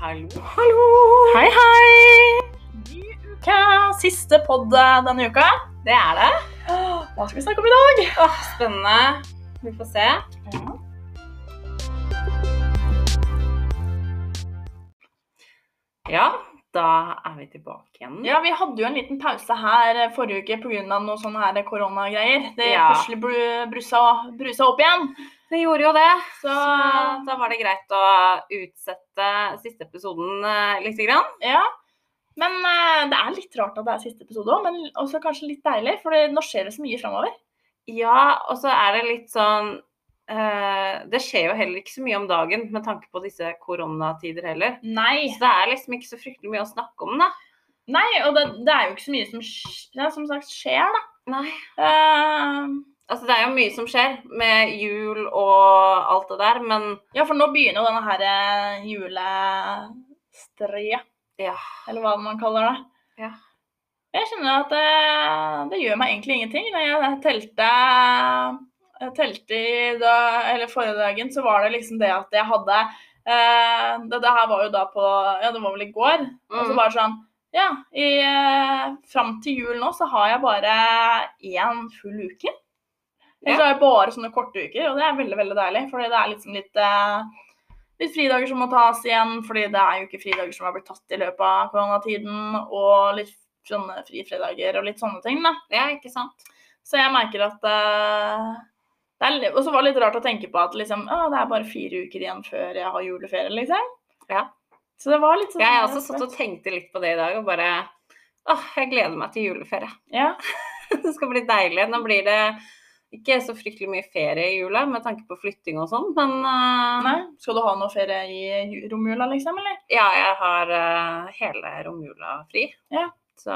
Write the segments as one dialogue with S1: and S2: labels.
S1: Hallo.
S2: Hallo!
S1: Hei, hei! Ny uke. Siste podd denne uka. Det er det.
S2: Hva skal vi snakke om i dag?
S1: Åh, spennende. Vi får se. Ja, da er vi tilbake igjen.
S2: Ja, Vi hadde jo en liten pause her eh, forrige uke pga. noe sånne her koronagreier. Det
S1: Ja.
S2: plutselig bru- brusa, brusa opp igjen.
S1: Vi gjorde jo det. Så
S2: Så-
S1: da var det greit å utsette siste episoden eh, lite grann.
S2: Ja. Men eh, det er litt rart at det er siste episode òg, men også kanskje litt deilig. For det- nå skjer det så mye framover.
S1: Ja, og så er det litt sånn eh, Det skjer jo heller ikke så mye om dagen med tanke på disse koronatider heller.
S2: Nei.
S1: Så det er liksom ikke så fryktelig mye å snakke om, da.
S2: Nei, Og det, det er jo ikke så mye som, sk- ja, som sagt skjer, da.
S1: Nei.
S2: Eh,
S1: Altså, det er jo mye som skjer med jul og alt det der, men
S2: ja, for nå begynner jo denne her eh, julestria.
S1: ja.
S2: eller hva man kaller det.
S1: Ja.
S2: Jeg kjenner at det, det gjør meg egentlig ingenting. Da jeg telte, jeg telte i da, eller forrige dagen, så var det liksom det at jeg hadde eh, det, det her var jo da på Ja, det var vel i går. Og så
S1: Mm.
S2: bare sånn Ja, i, eh, fram til jul nå så har jeg bare én full uke. Ellers
S1: Ja.
S2: har jeg bare sånne korte uker, og det er veldig, veldig deilig. Fordi det er liksom litt eh, litt fridager som må tas igjen, fordi det er jo ikke fridager som har blitt tatt i løpet av koronatiden, og litt sånne frifredager og litt sånne ting, da.
S1: ja, ikke sant?
S2: Så jeg merker at eh, det er, li- Og så var det litt rart å tenke på at liksom, «Å, det er bare fire uker igjen før jeg har juleferie, liksom.
S1: Ja.
S2: Så det var litt sånn
S1: Jeg har også satt og tenkte litt på det i dag og bare Åh, jeg gleder meg til juleferie.
S2: Ja.
S1: Det skal bli deilig. Nå blir det ikke så fryktelig mye ferie i jula med tanke på flytting og sånn, men eh,
S2: Nei. Skal du ha noe ferie i ju- romjula, liksom, eller?
S1: ja, jeg har eh, hele romjula fri.
S2: Ja.
S1: Så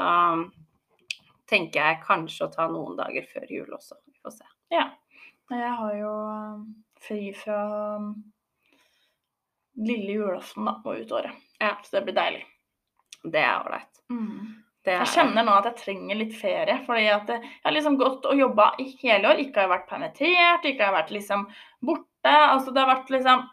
S1: tenker jeg kanskje å ta noen dager før jul også. Vi får se.
S2: Ja. Jeg har jo eh, fri fra mm, lille julaften da, og ut året.
S1: Ja.
S2: Så det blir deilig.
S1: Det er ålreit. Det
S2: Jeg
S1: er-
S2: kjenner nå at jeg trenger litt ferie. fordi at jeg jeg har liksom gått og jobba i hele år. Ikke har jeg vært permittert, ikke har jeg vært liksom borte. altså det har vært liksom,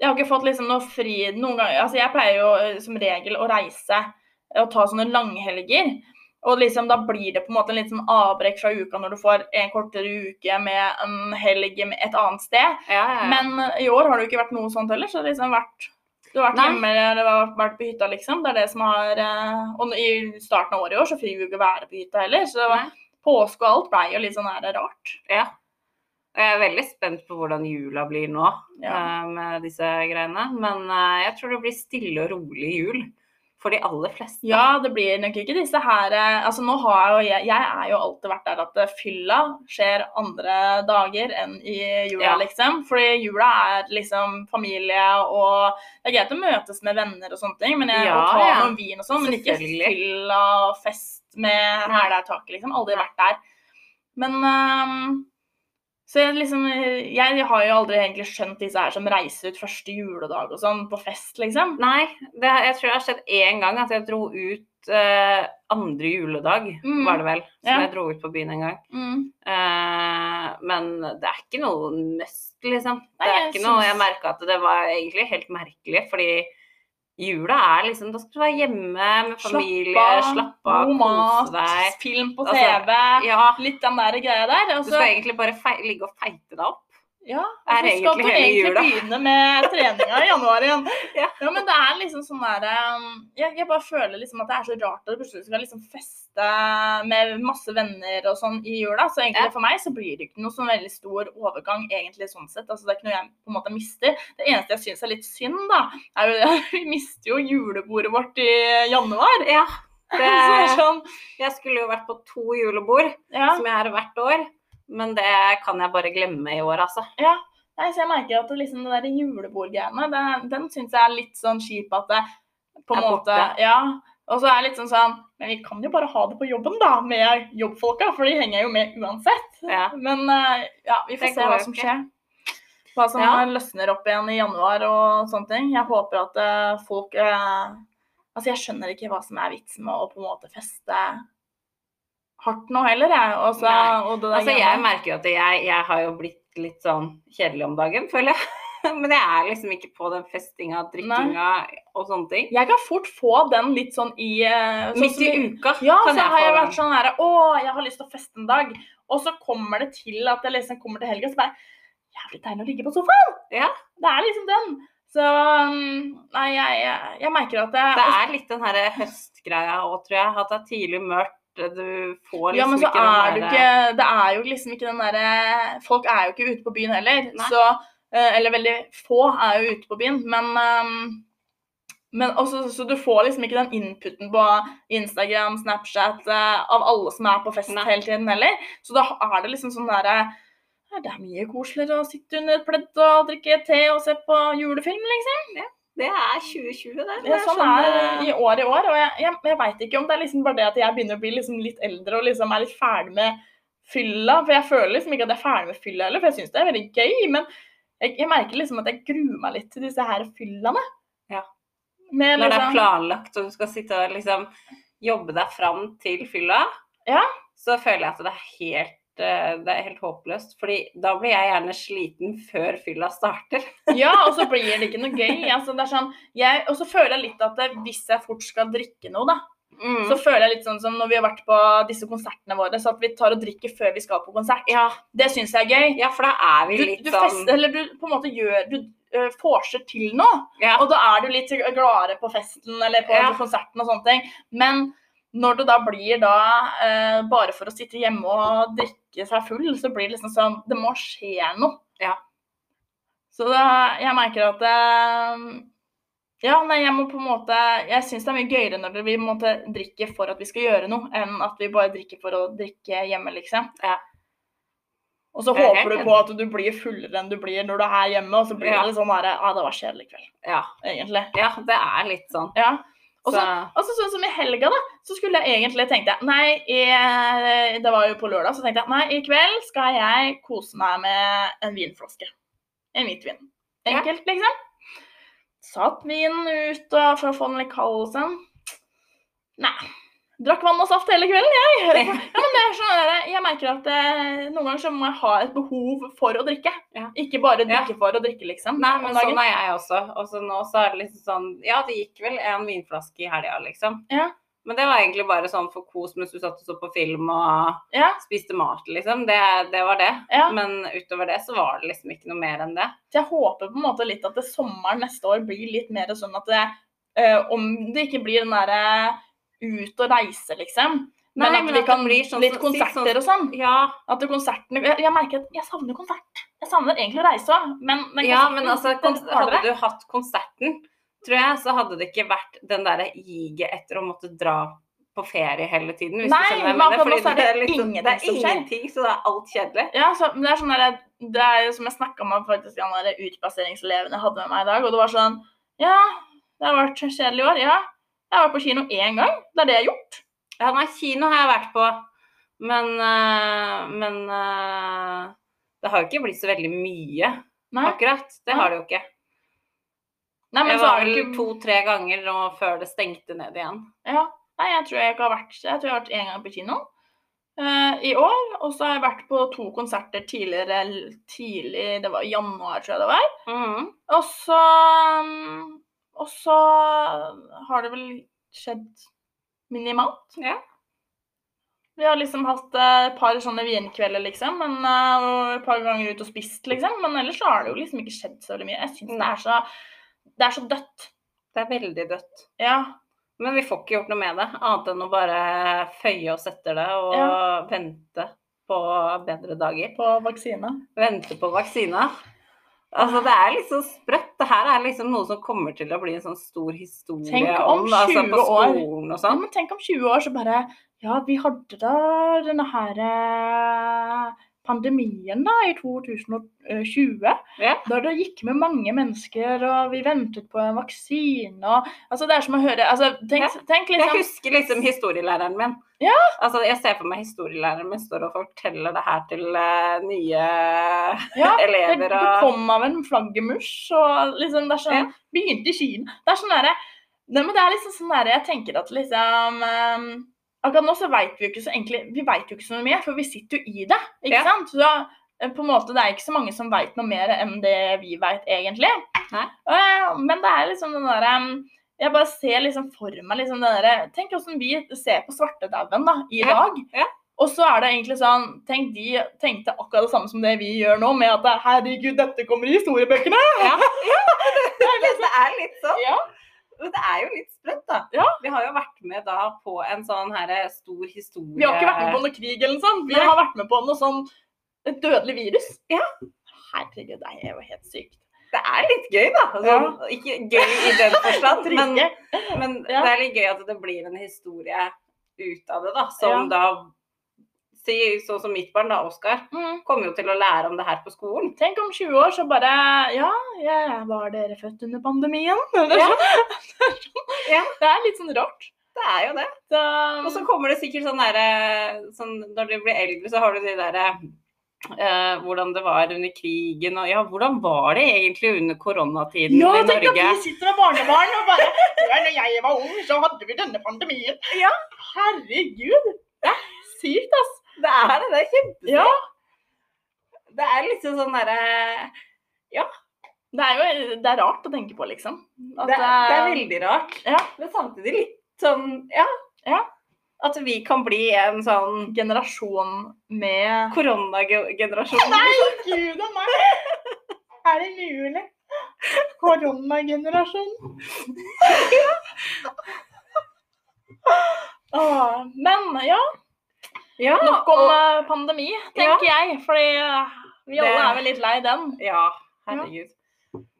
S2: Jeg har ikke fått liksom noe fri noen ganger. altså Jeg pleier jo eh, som regel å reise og ta sånne langhelger. Og liksom da blir det på en måte en liten avbrekk fra uka når du får en kortere uke med en helg med et annet sted.
S1: Ja, ja, ja.
S2: Men eh, i år har det jo ikke vært noe sånt heller. så det har liksom vært du har vært
S1: Nei.
S2: hjemme eller vært- vært på hytta, liksom. Det er det som har eh, Og i starten av året i år så fikk vi jo ikke være på hytta heller, så
S1: Nei.
S2: påske og alt blei jo litt sånn her rart.
S1: Ja. Og jeg er veldig spent på hvordan jula blir nå
S2: Ja.
S1: eh, med disse greiene. Men eh, jeg tror det blir stille og rolig jul for de aller fleste.
S2: ja, det blir nok ikke disse her eh, Altså nå har jo jeg Jeg er jo alltid vært der at eh, fylla skjer andre dager enn i jula,
S1: Ja.
S2: liksom. Fordi jula er liksom familie og Det er greit å møtes med venner og sånne ting, men jeg,
S1: Ja,
S2: og ta
S1: ja.
S2: noen vin og sånn, men ikke
S1: Selvfølgelig.
S2: fylla og fest med hæla i taket, liksom. Aldri vært der. Men ehm, Så jeg liksom Jeg har jo aldri egentlig skjønt disse her som reiser ut første juledag og sånn på fest, liksom.
S1: Nei, det, jeg tror det har skjedd én gang at jeg dro ut eh, andre juledag,
S2: Mm.
S1: var det vel. Som
S2: Ja.
S1: jeg dro ut på byen en gang.
S2: Mm.
S1: Eh, men det er ikke noe nøst, liksom.
S2: Nei,
S1: det er
S2: jeg
S1: ikke noe Jeg
S2: syns-
S1: merka at det var egentlig helt merkelig, fordi jula er liksom Da skal du være hjemme med familie, slappe av,
S2: god
S1: kose deg.
S2: mat, film på TV.
S1: Altså, Ja,
S2: Litt den der greia der. Og
S1: Du
S2: så,
S1: skal egentlig bare fei- ligge og feite deg opp.
S2: ja, og
S1: er
S2: så skal
S1: egentlig
S2: du
S1: hele
S2: egentlig
S1: jula.
S2: begynne med treninga i januar igjen.
S1: Ja.
S2: men det er liksom sånn der um, jeg, jeg bare føler liksom at det er så rart at du plutselig skal liksom feste med masse venner og sånn i jula. Så egentlig
S1: Ja.
S2: for meg så blir det ikke noe sånn veldig stor overgang egentlig sånn sett. Altså det er ikke noe jeg på en måte mister. Det eneste jeg syns er litt synd, da, er jo det at vi mister jo julebordet vårt i januar.
S1: Ja,
S2: Så
S1: Eh,
S2: det er
S1: det,
S2: sånn,
S1: jeg skulle jo vært på to julebord,
S2: ja.
S1: som jeg har hvert år. Men det kan jeg bare glemme i år, altså.
S2: Nei, så jeg merker at det liksom det der julebordgreiene, det- den syns jeg er litt sånn kjip at det på en
S1: Er
S2: måte
S1: borte.
S2: Ja. Og så er det litt sånn sånn Men vi kan jo bare ha det på jobben, da, med jobbfolka, for de henger jo med uansett.
S1: Ja.
S2: Men eh, ja, vi får
S1: Det
S2: se
S1: går
S2: hva
S1: jo
S2: som
S1: ikke.
S2: skjer. Hva som
S1: Ja.
S2: løsner opp igjen i januar og sånne ting. Jeg håper at eh, folk eh, Altså, jeg skjønner ikke hva som er vitsen med å på en måte feste hardt nå heller, jeg. Og så-
S1: Nei.
S2: og det der
S1: Altså,
S2: greiene.
S1: jeg merker jo at jeg, jeg har jo blitt litt sånn kjedelig om dagen, føler jeg. Men jeg er liksom ikke på den festinga, drikkinga og sånne ting.
S2: Jeg kan fort få den litt sånn i eh, sånn
S1: Midt i
S2: som
S1: uka
S2: Ja,
S1: kan
S2: så
S1: jeg
S2: har
S1: få
S2: jeg
S1: den.
S2: vært sånn her Å, jeg har lyst til å feste en dag. Og så kommer det til at jeg liksom kommer til helga, så bare Jævlig deilig å ligge på sofaen!
S1: Ja.
S2: Det er liksom den. Så mm, Nei, jeg, jeg, jeg merker at jeg,
S1: Det er litt den her høstgreia òg, tror jeg. At det er tidlig mørkt. Du får liksom
S2: Ja, men så
S1: ikke
S2: er
S1: den
S2: du
S1: der- eh,
S2: ikke Det er jo liksom ikke den derre Folk er jo ikke ute på byen heller.
S1: Nei.
S2: Så eh, Eller veldig få er jo ute på byen, men ehm, men også, så du får liksom ikke den inputen på Instagram, Snapchat eh, av alle som er på fest
S1: Nei.
S2: hele tiden heller. Så da er det liksom sånn derre «Ja, Det er mye koseligere å sitte under et pledd og drikke te og se på julefilm, liksom.
S1: Det er eh, 2020, det.
S2: Det er
S1: Jeg
S2: sånn
S1: skjønner-
S2: er det i år i år. Og jeg, jeg, jeg veit ikke om det er liksom bare det at jeg begynner å bli liksom litt eldre og liksom er litt ferdig med fylla. For jeg føler liksom ikke at jeg er ferdig med fylla heller, for jeg syns det er veldig gøy. Men jeg, jeg merker liksom at jeg gruer meg litt til disse her fyllene.
S1: Ja.
S2: Med
S1: Når det er
S2: liksom,
S1: planlagt og du skal sitte og liksom jobbe deg fram til fylla,
S2: Ja.
S1: så føler jeg at det er helt eh, det er helt håpløst, fordi da blir jeg gjerne sliten før fylla starter.
S2: ja, og så blir det ikke noe gøy. Altså, det er sånn, jeg, og så føler jeg litt at eh, hvis jeg fort skal drikke noe, da, så
S1: Så,
S2: føler jeg litt sånn som når vi har vært på disse konsertene våre, så at vi tar og drikker før vi skal på konsert.
S1: ja,
S2: Det syns jeg er gøy.
S1: ja, for da er vi
S2: du,
S1: litt
S2: du
S1: sånn
S2: fester, eller du på en måte gjør Du uh, forser til noe,
S1: sånn- Ja.
S2: og da er du litt gladere på festen eller på
S1: Ja.
S2: konserten og sånne ting. Men når det da blir da eh, bare for å sitte hjemme og drikke seg full, så blir det liksom sånn Det må skje noe.
S1: Ja.
S2: Så da, jeg merker at eh, ja, nei, jeg må på en måte Jeg syns det er mye gøyere når vi på en måte drikker for at vi skal gjøre noe, enn at vi bare drikker for å drikke hjemme, liksom.
S1: Ja.
S2: Og så
S1: Det er
S2: håper
S1: helt
S2: du på at du blir fullere enn du blir når du er hjemme, og så blir
S1: Ja.
S2: det litt sånn derre Ja, det var kjedelig i kveld,
S1: ja,
S2: egentlig.
S1: ja, det er litt sånn.
S2: Ja. Og
S1: Så,
S2: så Altså sånn som i helga, da, så skulle jeg egentlig tenkte jeg, Nei, i, det var jo på lørdag, så tenkte jeg nei, i kveld skal jeg kose meg med en vinflaske. En hvitvin. Enkelt, liksom. Satt vinen ut og, for å få den litt kald og sånn. Nei. Drakk vann og saft hele kvelden, jeg. Hører på. Ja, men det er sånn, der, jeg merker at eh, noen ganger så må jeg ha et behov for å drikke.
S1: Ja.
S2: Ikke bare
S1: Ja.
S2: drikke for å drikke, liksom.
S1: nei,
S2: om
S1: men
S2: dagen.
S1: sånn er jeg også. Og så nå så er det liksom sånn Ja, det gikk vel en vinflaske i helga, liksom.
S2: Ja.
S1: Men det var egentlig bare sånn for kos mens du satt og så på film og
S2: Ja.
S1: spiste mat, liksom. Det, det var det.
S2: ja.
S1: Men utover det så var det liksom ikke noe mer enn det.
S2: Så jeg håper på en måte litt at det sommeren neste år blir litt mer sånn at det, eh, om det ikke blir den derre ut og reise, liksom.
S1: Nei,
S2: Men at
S1: men
S2: vi
S1: at det
S2: kan
S1: blir sånn
S2: litt
S1: som- si
S2: konserter og sånn.
S1: Ja,
S2: At det konsertene jeg, jeg merker at jeg savner konsert. Jeg savner egentlig å reise òg, men den
S1: ja
S2: konserten
S1: men altså,
S2: den
S1: kons-
S2: har
S1: hadde
S2: dere.
S1: du hatt konserten, tror jeg, så hadde det ikke vært den derre jiget etter å måtte dra på ferie hele tiden. Hvis
S2: Nei,
S1: du skjønner
S2: men
S1: hva jeg
S2: akkurat
S1: mener.
S2: nå så er
S1: Fordi det er,
S2: det
S1: liksom, det er
S2: ingenting som skjer.
S1: ingenting, så det er alt kjedelig.
S2: Ja, så, men det er sånn der, det er jo som jeg snakka om faktisk han der utplasseringseleven jeg hadde med meg i dag, og det var sånn Ja, det har vært kjedelig i år. Ja. Jeg har vært på kino én gang. Det er det jeg har gjort.
S1: Ja, nei, kino har jeg vært på, men øh, Men øh, det har jo ikke blitt så veldig mye,
S2: Nei,
S1: akkurat. Det har det jo ikke.
S2: Nei men
S1: Jeg
S2: så
S1: var
S2: er det
S1: vel
S2: ikke
S1: to-tre ganger nå før det stengte ned igjen.
S2: Ja. Nei, jeg tror jeg ikke har vært Jeg tror jeg har vært én gang på kino eh, i år. Og så har jeg vært på to konserter tidligere tidlig Det var i januar, tror jeg det var.
S1: Mhm.
S2: Og så mm, Og så har det vel skjedd minimalt.
S1: Ja.
S2: Vi har liksom hatt eh, et par sånne vinkvelder, liksom. Men, eh, og et par ganger ut og spist, liksom. Men ellers så har det jo liksom ikke skjedd så veldig mye. Jeg syns det
S1: Nei.
S2: er så Det er så dødt.
S1: Det er veldig dødt.
S2: Ja.
S1: Men vi får ikke gjort noe med det, annet enn å bare føye oss etter det og vente på bedre dager.
S2: På vaksine.
S1: Vente på vaksina. Altså, det er liksom sprøtt. Det her er liksom noe som kommer til å bli en sånn stor historie
S2: Tenk om
S1: det, altså,
S2: 20
S1: på
S2: år.
S1: skolen og
S2: Ja,
S1: sånn.
S2: men tenk om 20 år så bare Ja, vi hadde da denne her eh, pandemien da i 2020.
S1: Ja.
S2: Da det gikk med mange mennesker, og vi ventet på en vaksine og Altså, det er som å høre altså, tenk,
S1: Ja.
S2: tenk
S1: Jeg
S2: liksom
S1: husker liksom historielæreren min.
S2: Ja.
S1: Altså, jeg ser for meg historielæreren min står og forteller det her til eh, nye
S2: Ja, det,
S1: elever
S2: du
S1: og
S2: kom av en flaggermus, og liksom det er sånn
S1: Ja.
S2: Begynte i Kina. Det er sånn derre Nei, men det er liksom sånn derre Jeg tenker at liksom ehm, Akkurat nå så veit vi jo ikke så egentlig Vi vet jo ikke så mye, for vi sitter jo i det, ikke
S1: Ja.
S2: sant? Så da eh, på en måte, Det er ikke så mange som veit noe mer enn det vi veit, egentlig.
S1: Nei.
S2: Eh, Men det er liksom den derre eh, Jeg bare ser liksom for meg liksom den derre Tenk åssen vi ser på svartedauden da, i
S1: Ja,
S2: dag.
S1: ja.
S2: Og så er det egentlig sånn Tenk, de tenkte akkurat det samme som det vi gjør nå, med at det er, herregud, dette kommer i historiebøkene!
S1: Det er litt sånn.
S2: Ja.
S1: Men det er jo litt sprøtt, da.
S2: Ja.
S1: Vi har jo vært med da på en sånn her stor historie...
S2: Vi har ikke vært med på noe krig eller noe sånt. Vi
S1: Nei.
S2: har vært med på noe sånn et dødelig virus.
S1: Ja.
S2: Herregud, det er jo helt sykt.
S1: Det er litt gøy, da. Altså, Ikke gøy i den forstand, men,
S2: Trygge.
S1: men
S2: Ja.
S1: det er litt gøy at det blir en historie ut av det, da. Som
S2: Ja.
S1: da Si sånn som mitt barn, da, Oskar,
S2: Mm.
S1: kommer jo til å lære om det her på skolen.
S2: Tenk om 20 år så bare Ja, ja var dere født under pandemien? Det er,
S1: Ja.
S2: sånn,
S1: Ja.
S2: det er litt sånn rart.
S1: Det er jo det.
S2: Så,
S1: Og så kommer det sikkert sånn derre sånn, Når du blir eldre, så har du de derre eh, hvordan det var under krigen og Ja, hvordan var det egentlig under koronatiden
S2: ja,
S1: i
S2: tenk at
S1: Norge?
S2: vi sitter med barnebarn og bare ja, når jeg var ung, så hadde vi denne pandemien.
S1: Ja.
S2: Herregud. Det er sykt, ass.
S1: Det er det. Det er kjempesykt.
S2: Ja.
S1: Det er liksom sånn derre
S2: Det er jo det er rart å tenke på, liksom. At
S1: det, det er veldig rart.
S2: Ja.
S1: Men samtidig litt sånn ja.
S2: Ja.
S1: At vi kan bli en sånn
S2: generasjon med
S1: koronagenerasjon.
S2: Gud a meg! Er det mulig? Koronagenerasjon. Åh, men ja,
S1: Ja,
S2: nok om
S1: og,
S2: eh, pandemi, tenker jeg. Fordi eh, vi alle
S1: Det-
S2: er vel litt lei den.
S1: ja, herregud.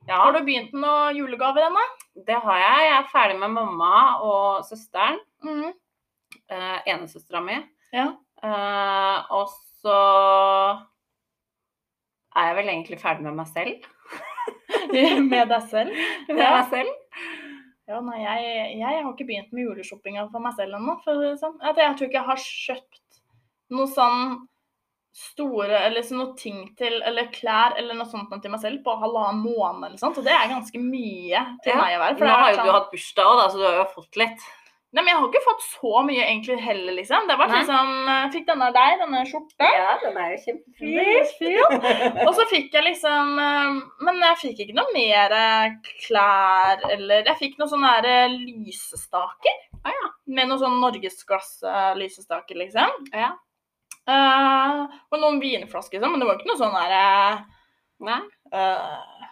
S1: Ja,
S2: Har du begynt med noen julegaver ennå?
S1: det har jeg. Jeg er ferdig med mamma og søsteren.
S2: Mm.
S1: Eh, Enesøstera mi.
S2: Ja.
S1: Eh, og så er jeg vel egentlig ferdig med meg selv.
S2: Med deg selv?
S1: Med
S2: Ja.
S1: meg selv.
S2: Ja, nei, jeg, jeg har ikke begynt med juleshoppinga for meg selv ennå. For å si det sånn. At jeg tror ikke jeg har kjøpt noe sånn store eller sånn noe ting til, eller klær eller noe sånt noe til meg selv på halvannen måned eller sånt. Og det er ganske mye til
S1: Ja.
S2: meg å være. For
S1: Nå
S2: det har
S1: har jo du
S2: vært sånn,
S1: hatt bursdag òg, da, så du har jo fått litt.
S2: nei, men jeg har ikke fått så mye egentlig heller, liksom. Det har vært
S1: Nei.
S2: liksom eh, Fikk denne av deg, denne skjorta.
S1: den er jo
S2: Og så fikk jeg liksom eh, Men jeg fikk ikke noe mer eh, klær eller Jeg fikk noen sånne her, eh, lysestaker. Ah, Med noen sånn norgesglass-lysestaker, liksom.
S1: Ja.
S2: Eh, og noen vinflasker, liksom. Men det var ikke noe sånn her
S1: Nei.
S2: eh, eh,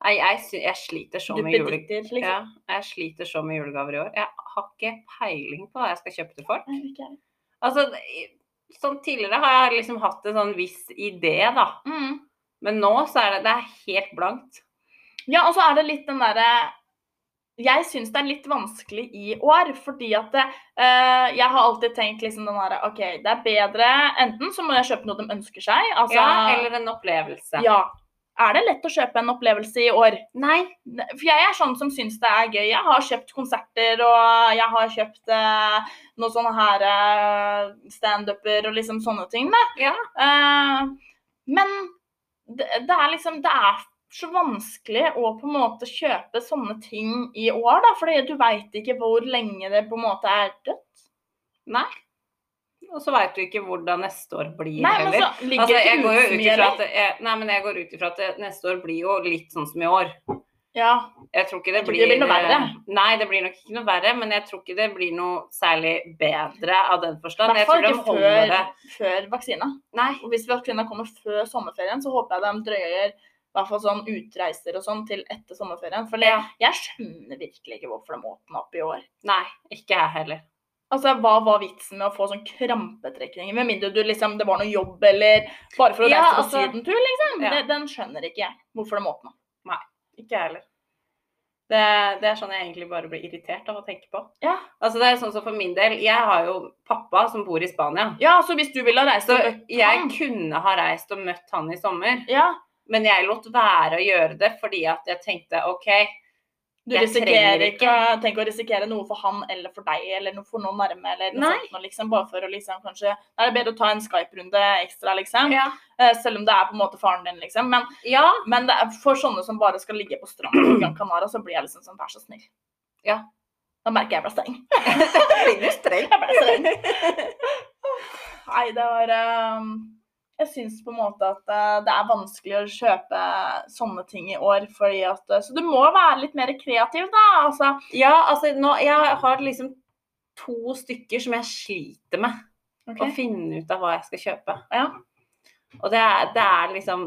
S1: Nei, jeg, sy- jeg sliter så med jule...
S2: duppeditter, liksom.
S1: Ja, jeg sliter så med julegaver i år. Jeg har ikke peiling på hva jeg skal kjøpe til folk.
S2: Nei, ikke jeg.
S1: Altså, det- sånn tidligere har jeg liksom hatt en sånn viss idé, da.
S2: Mm.
S1: Men nå så er det, det er helt blankt.
S2: Ja, og så er det litt den derre Jeg syns det er litt vanskelig i år, fordi at det, eh, jeg har alltid tenkt liksom den derre OK, det er bedre Enten så må jeg kjøpe noe de ønsker seg, altså
S1: ja, eller en opplevelse.
S2: ja. Er det lett å kjøpe en opplevelse i år?
S1: Nei.
S2: For jeg er sånn som syns det er gøy. Jeg har kjøpt konserter, og jeg har kjøpt eh, noen sånne her eh, standuper og liksom sånne ting. Da.
S1: Ja.
S2: Eh, men det, det er liksom Det er så vanskelig å på en måte kjøpe sånne ting i år, da. Fordi du veit ikke hvor lenge det på en måte er dødt.
S1: Nei. Og så veit du ikke hvordan neste år blir
S2: Nei, men
S1: heller.
S2: så ligger
S1: Altså,
S2: det
S1: jeg
S2: ikke
S1: går jo
S2: ute så
S1: ut
S2: mye,
S1: ifra
S2: eller?
S1: at jeg, Nei, men jeg går ut ifra at det- neste år blir jo litt sånn som i år.
S2: Ja.
S1: Jeg tror ikke det
S2: Jeg tror
S1: blir, eh,
S2: ikke det blir noe verre.
S1: Nei, det blir nok ikke noe verre, men jeg tror ikke det blir noe særlig bedre av den
S2: I
S1: forstand.
S2: hvert
S1: Jeg
S2: fall
S1: tror de
S2: ikke
S1: holder
S2: før,
S1: det.
S2: før vaksina.
S1: Nei.
S2: Og hvis vaksinen kommer før sommerferien, så håper jeg de drøyer i hvert fall sånn utreiser og sånn til etter sommerferien. For jeg,
S1: Ja.
S2: jeg skjønner virkelig ikke hvorfor de åpna opp i år.
S1: Nei, ikke jeg heller.
S2: Altså, Hva var vitsen med å få sånn krampetrekninger? Med mindre du liksom, det var noe jobb eller bare for å
S1: Ja,
S2: reise på
S1: altså-
S2: sydentur, liksom.
S1: Ja.
S2: Det, den skjønner ikke jeg, hvorfor de åpna.
S1: Ikke jeg heller. Det, det er sånn jeg egentlig bare blir irritert av å tenke på.
S2: Ja.
S1: Altså det er sånn som For min del, jeg har jo pappa som bor i Spania.
S2: ja, så hvis du ville ha reist
S1: Så
S2: og møtt
S1: jeg
S2: ham-
S1: kunne ha reist og møtt han i sommer,
S2: ja,
S1: men jeg lot være å gjøre det fordi at jeg tenkte OK,
S2: du
S1: Jeg
S2: risikerer
S1: trenger
S2: ikke Tenk å risikere noe for han eller for deg eller noe for noen nærme. eller noe
S1: Nei.
S2: sånt, noe, liksom, Bare for å liksom kanskje Da er det bedre å ta en Skype-runde ekstra, liksom.
S1: ja.
S2: Eh, Selv om det er på en måte faren din, liksom. Men,
S1: ja,
S2: men det er for sånne som bare skal ligge på stranda på Gran Canaria, så blir jeg liksom sånn, vær så snill.
S1: Ja.
S2: Da merker jeg jeg ble streng.
S1: blir du streng?
S2: Jeg ble streng. Nei, det var eh, jeg syns på en måte at eh, det er vanskelig å kjøpe sånne ting i år. Fordi at, eh, så du må være litt mer kreativ, da. Altså,
S1: Ja, altså nå Jeg har liksom to stykker som jeg sliter med å finne ut av hva jeg skal kjøpe.
S2: Ja.
S1: Og det er, det er liksom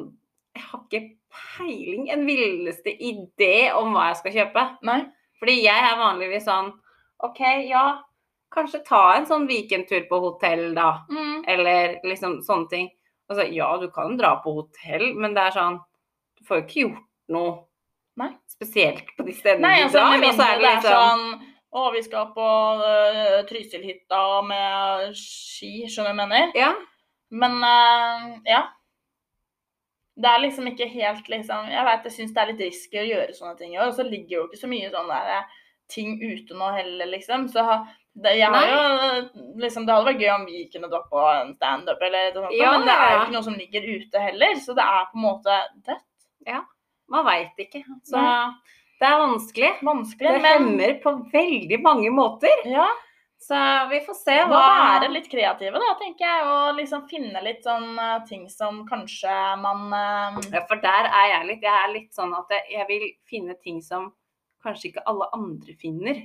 S1: Jeg har ikke peiling, en villeste idé om hva jeg skal kjøpe.
S2: Nei.
S1: Fordi jeg er vanligvis sånn OK, ja, kanskje ta en sånn weekendtur på hotell, da.
S2: Mm.
S1: Eller liksom sånne ting. Og så, ja, du kan dra på hotell, men det er sånn Du får jo ikke gjort noe
S2: Nei.
S1: spesielt på de stedene
S2: Nei, altså,
S1: du drar. og
S2: med
S1: så
S2: mindre
S1: er
S2: det
S1: det
S2: er
S1: liksom
S2: sånn Å, vi skal på øh, Trysilhytta med ski, skjønner du hva jeg mener?
S1: Ja.
S2: Men øh, ja. Det er liksom ikke helt liksom Jeg vet, jeg syns det er litt risky å gjøre sånne ting i år. Og så ligger det jo ikke så mye sånn der eh, ting ute nå heller, liksom. Så ha- det, jeg har
S1: Nei.
S2: jo eh, liksom Det hadde vært gøy om vi kunne dra på en standup eller noe sånt,
S1: Ja,
S2: men det er jo
S1: ja.
S2: ikke noe som ligger ute heller. Så det er på en måte dødt.
S1: Man veit ikke. Så det er vanskelig. Det
S2: Vanskelig, men
S1: hemmer på veldig mange måter.
S2: ja.
S1: Så vi får se
S2: Må
S1: hva
S2: være litt kreative, da, tenker jeg. Og liksom finne litt sånn eh, ting som kanskje man eh,
S1: Ja, for der er jeg litt. Jeg er litt sånn at jeg, jeg vil finne ting som kanskje ikke alle andre finner.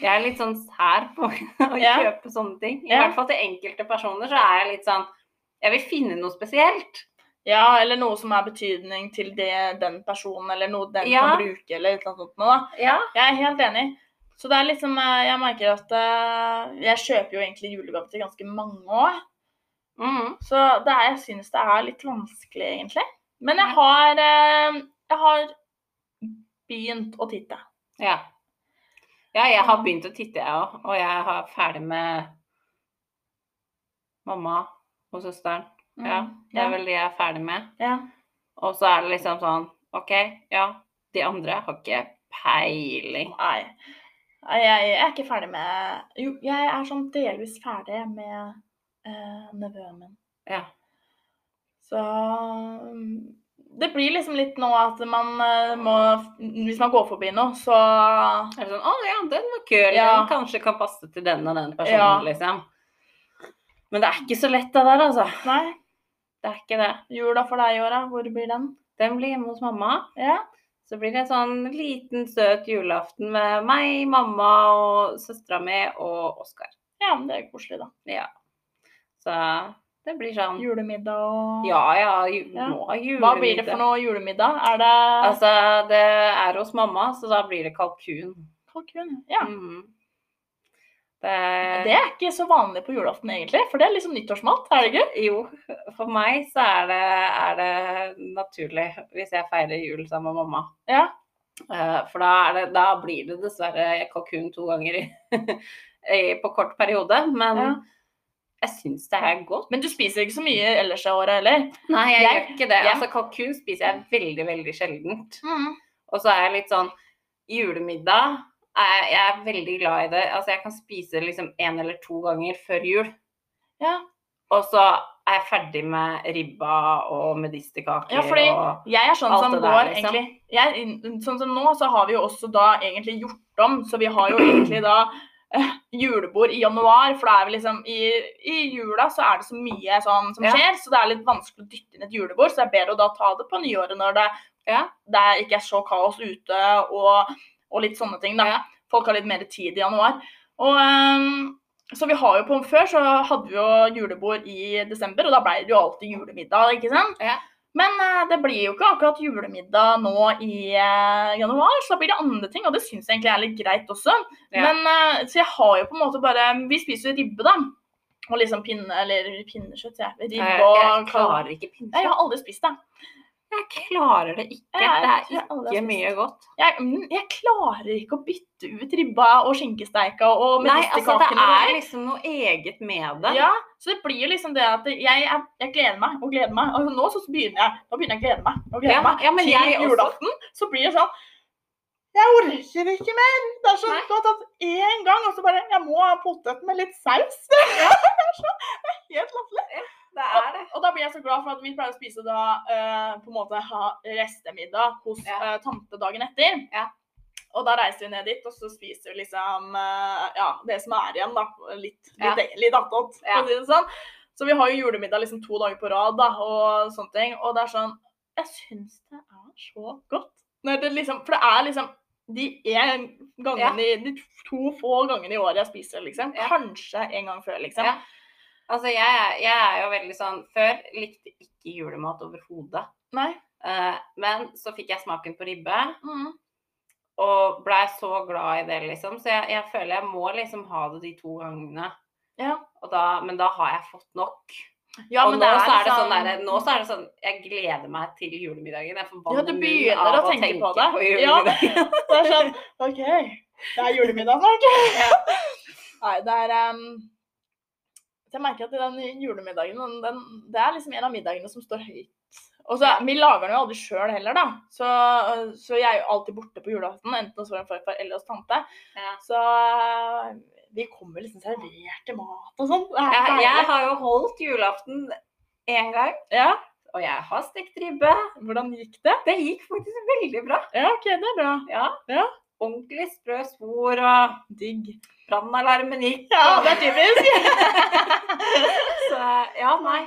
S1: Jeg er litt sånn sær på å
S2: Ja.
S1: kjøpe sånne ting. I
S2: Ja.
S1: hvert fall til enkelte personer så er jeg litt sånn Jeg vil finne noe spesielt.
S2: Ja, eller noe som er betydning til det, den personen, eller noe den
S1: Ja.
S2: kan bruke, eller et eller annet sånt noe, da.
S1: Ja.
S2: Jeg er helt enig. Så det er liksom eh, Jeg merker at eh, jeg kjøper jo egentlig julegave til ganske mange år.
S1: Mm.
S2: Så det er, jeg syns det er litt vanskelig, egentlig. Men jeg har eh, Jeg har begynt å titte.
S1: ja. Ja, jeg har begynt å titte, jeg òg. Og jeg har ferdig med mamma og søsteren. Ja, Det er
S2: ja.
S1: vel det jeg er ferdig med.
S2: ja.
S1: Og så er det liksom sånn OK, ja. De andre har ikke peiling.
S2: Nei. Nei, Jeg, jeg er ikke ferdig med Jo, jeg er sånn delvis ferdig med eh, nevøen min.
S1: Ja.
S2: Så mm, det blir liksom litt nå at man eh, må Hvis man går forbi noe, så
S1: Er det sånn 'Å ja, den var kul.
S2: Ja.
S1: Den kanskje kan passe til den og den personen',
S2: Ja.
S1: liksom. Men det er ikke så lett, det der, altså.
S2: Nei.
S1: Det er ikke det.
S2: Jula for deg i år, da? Hvor blir den?
S1: Den blir hjemme hos mamma.
S2: Ja.
S1: Så blir det en sånn liten, søt julaften med meg, mamma og søstera mi og Oskar.
S2: ja, men det er jo koselig, da.
S1: Så det blir sånn
S2: Julemiddag og
S1: Ja ja, ju
S2: Ja.
S1: nå er julemiddag.
S2: Hva blir det for noe julemiddag? Er det
S1: Altså, det er hos mamma, så da blir det kalkun.
S2: kalkun? Ja.
S1: Mhm. Det,
S2: Det er ikke så vanlig på julaften, egentlig, for det er liksom nyttårsmat. Er det ikke?
S1: Jo, for meg så er det, er det naturlig hvis jeg feirer jul sammen med mamma.
S2: Ja.
S1: Eh, For da, er det, da blir det dessverre kalkun to ganger i, i- på kort periode. Men
S2: Ja.
S1: jeg syns det er godt.
S2: Men du spiser ikke så mye ellers i året heller.
S1: Nei, jeg,
S2: Jeg-
S1: gjør ikke det.
S2: ja.
S1: Altså, kalkun spiser jeg veldig, veldig sjeldent. Og så er jeg litt sånn Julemiddag er jeg, jeg er veldig glad i det. Altså, jeg kan spise liksom én eller to ganger før jul.
S2: Ja.
S1: Og så er jeg ferdig med ribba og medisterkaker
S2: Ja, fordi-
S1: og
S2: Jeg er sånn
S1: Alt
S2: som
S1: det der,
S2: går
S1: liksom.
S2: egentlig jeg, Sånn som nå, så har vi jo også da egentlig gjort om, så vi har jo egentlig da eh, julebord i januar, for da er vi liksom i, i jula så er det så mye sånn som
S1: Ja.
S2: skjer, så det er litt vanskelig å dytte inn et julebord, så det er bedre å da ta det på nyåret når det,
S1: Ja.
S2: det er- ikke er så kaos ute og, og litt sånne ting, da.
S1: Ja.
S2: Folk har litt mer tid i januar. Og ehm, så vi har jo på Før så hadde vi jo julebord i desember, og da ble det jo alltid julemiddag. ikke sant?
S1: Ja.
S2: Men eh, det blir jo ikke akkurat julemiddag nå i eh, januar, så da blir det andre ting. Og det syns jeg egentlig er litt greit også.
S1: Ja.
S2: Men, eh, så jeg har jo på en måte bare Vi spiser jo ribbe, da. Og liksom pinne Eller pinnekjøtt, sier jeg.
S1: Eh,
S2: Ribbe
S1: Jeg
S2: og
S1: klarer ikke
S2: Nei, Jeg
S1: pinnekjøtt.
S2: har aldri spist det.
S1: Jeg klarer det ikke. Det
S2: Jeg- jeg
S1: er
S2: aldri har
S1: ikke
S2: spist
S1: mye godt.
S2: Jeg, mm, jeg klarer ikke å bytte ut ribba og skinkesteika og
S1: Nei, altså det
S2: medisterkakene.
S1: er liksom noe eget med det.
S2: Ja, så det blir jo liksom det at jeg, er- jeg gleder meg og gleder meg. Altså, nå så begynner jeg nå begynner jeg å glede meg og glede
S1: Ja,
S2: meg
S1: ja, men
S2: til
S1: jeg også.
S2: julaften. Så blir det sånn Jeg orker ikke mer! Det er så
S1: Nei.
S2: godt at én gang, og så bare Jeg må ha potet med litt saus. det er så det er helt latterlig.
S1: det er det.
S2: Og da blir jeg så glad for at vi pleier å spise da eh, på en måte ha restemiddag hos
S1: Ja.
S2: eh, tante dagen etter.
S1: Ja.
S2: Og da reiser vi ned dit, og så spiser vi liksom eh, ja, det som er igjen, da. Litt,
S1: Ja.
S2: litt, litt attåt, for
S1: Ja.
S2: å si det sånn. Så vi har jo julemiddag liksom to dager på rad da, og sånne ting. Og det er sånn Jeg syns det er så godt. Når det liksom, for det er liksom de, en gangen i, de to få gangene i året jeg spiser, liksom.
S1: Ja.
S2: Kanskje en gang før, liksom.
S1: Ja. Altså, jeg, er- jeg er jo veldig sånn Før likte jeg ikke julemat overhodet.
S2: Nei.
S1: Eh, men så fikk jeg smaken på ribbe,
S2: Mm.
S1: og blei så glad i det, liksom. Så jeg, jeg føler jeg må liksom ha det de to gangene.
S2: Ja.
S1: Og da, men da har jeg fått nok.
S2: ja,
S1: og
S2: men
S1: nå,
S2: det
S1: så er
S2: er,
S1: det
S2: liksom-
S1: sånn der, nå så er det sånn Jeg gleder meg til julemiddagen. Jeg får vann
S2: Ja, du
S1: i munnen
S2: begynner
S1: av
S2: å tenke på det. Ja.
S1: julemiddagen.
S2: Det er sånn OK, det er julemiddag snart. Nei, det er ehm, Jeg merker at den julemiddagen den, den, Det er liksom en av middagene som står høyt. Og så, Vi lager den jo aldri sjøl heller, da. Så, så jeg er jo alltid borte på julaften, enten hos vår farfar eller hos tante.
S1: Ja.
S2: Så eh, vi kommer liksom servert til mat og sånn. Det er
S1: Jeg, jeg
S2: deilig.
S1: har jo holdt julaften én gang,
S2: Ja,
S1: og jeg har stekt ribbe.
S2: Hvordan gikk det?
S1: Det gikk faktisk veldig bra.
S2: Ja, OK, det er bra.
S1: Ja.
S2: Ja.
S1: Ordentlig sprø spor, og
S2: Digg.
S1: brannalarmen gikk.
S2: Ja,
S1: og-
S2: det er typisk.
S1: Så ja, nei.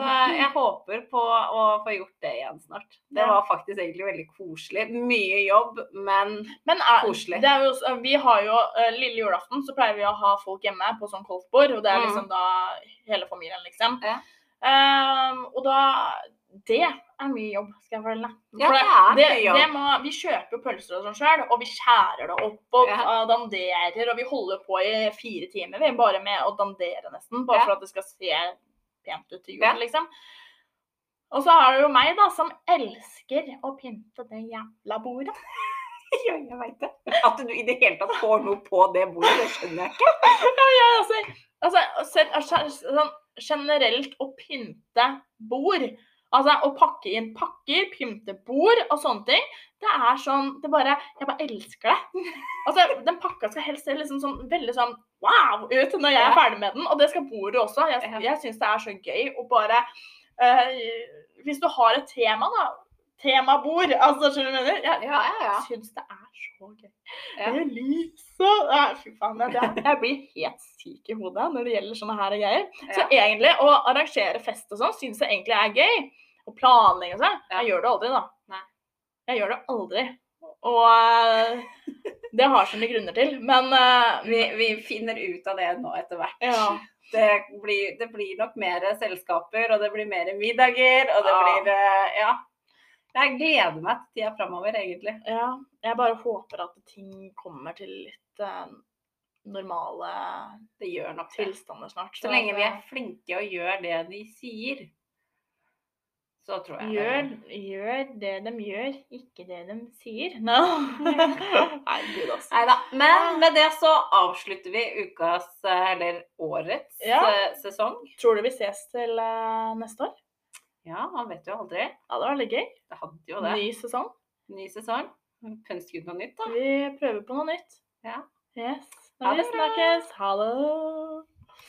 S1: Så jeg håper på å få gjort det igjen snart. Det
S2: Ja.
S1: var faktisk egentlig veldig koselig. Mye jobb, men
S2: Men er,
S1: Koselig.
S2: Det er jo, også- vi har jo eh, lille julaften, så pleier vi å ha folk hjemme på sånn golfbord. Og det er
S1: Mm.
S2: liksom da hele familien, liksom.
S1: Ja.
S2: Ehm, og da Det er mye jobb, skal jeg fortelle.
S1: Ja,
S2: For
S1: det er
S2: det,
S1: mye jobb.
S2: det må, vi kjøper jo pølser og sånn sjøl, og vi skjærer det opp og
S1: Ja.
S2: eh, danderer. Og vi holder på i fire timer vi, bare med å dandere, nesten. Bare
S1: Ja.
S2: for at det skal se pent ut til jul,
S1: Ja.
S2: liksom. Og så har du jo meg, da, som elsker å pynte det jævla bordet.
S1: Ja, jeg veit det. At du i det hele tatt får noe på det bordet, det skjønner jeg ikke.
S2: Ja, altså, altså selv, altså, sånn, generelt å pynte bord. Altså å pakke inn pakker, pynte bord og sånne ting. Det er sånn det bare, Jeg bare elsker det. Altså, Den pakka skal helst se liksom sånn, veldig sånn wow ut når jeg
S1: Ja.
S2: er ferdig med den. Og det skal bordet også. Jeg,
S1: Ja.
S2: jeg syns det er så gøy å bare eh, Hvis du har et tema, da. Temabord. Altså, skjønner du hva jeg mener? Jeg,
S1: Ja, ja, ja.
S2: jeg syns det er så gøy.
S1: Ja.
S2: Det er lyset Nei, Fy faen. Jeg, jeg- jeg blir helt syk i hodet når det gjelder sånne her greier. Så egentlig å arrangere fest og sånn syns jeg egentlig er gøy. Og planlegge og sånn.
S1: Ja.
S2: Jeg gjør det aldri, da.
S1: Nei.
S2: Jeg gjør det aldri. Og eh, det har sine grunner til, men eh,
S1: Vi, vi finner ut av det nå etter hvert.
S2: ja.
S1: Det, blir, det blir nok mer selskaper, og det blir mer middager, og det
S2: Ja.
S1: blir eh, Ja. Jeg gleder meg til tida framover, egentlig.
S2: ja. Jeg bare håper at ting kommer til litt eh, normale
S1: Det gjør nok det.
S2: tilstander snart.
S1: Så lenge vi er flinke og gjør det de sier, så tror jeg
S2: Gjør, gjør det de gjør, ikke det de sier. No. Nei, gud, altså.
S1: Nei da. Men med det så avslutter vi ukas, eh, eller årets,
S2: Ja.
S1: eh, sesong.
S2: Tror du vi ses til eh, neste år?
S1: Ja, man vet jo aldri.
S2: Ja, det var veldig gøy.
S1: Det hadde jo det.
S2: Ny sesong.
S1: Ny sesong. Pønsk ut noe nytt, da.
S2: Vi prøver på noe nytt.
S1: Ja.
S2: Yes.
S1: Ha
S2: Da vi
S1: det bra.
S2: snakkes. Ha det.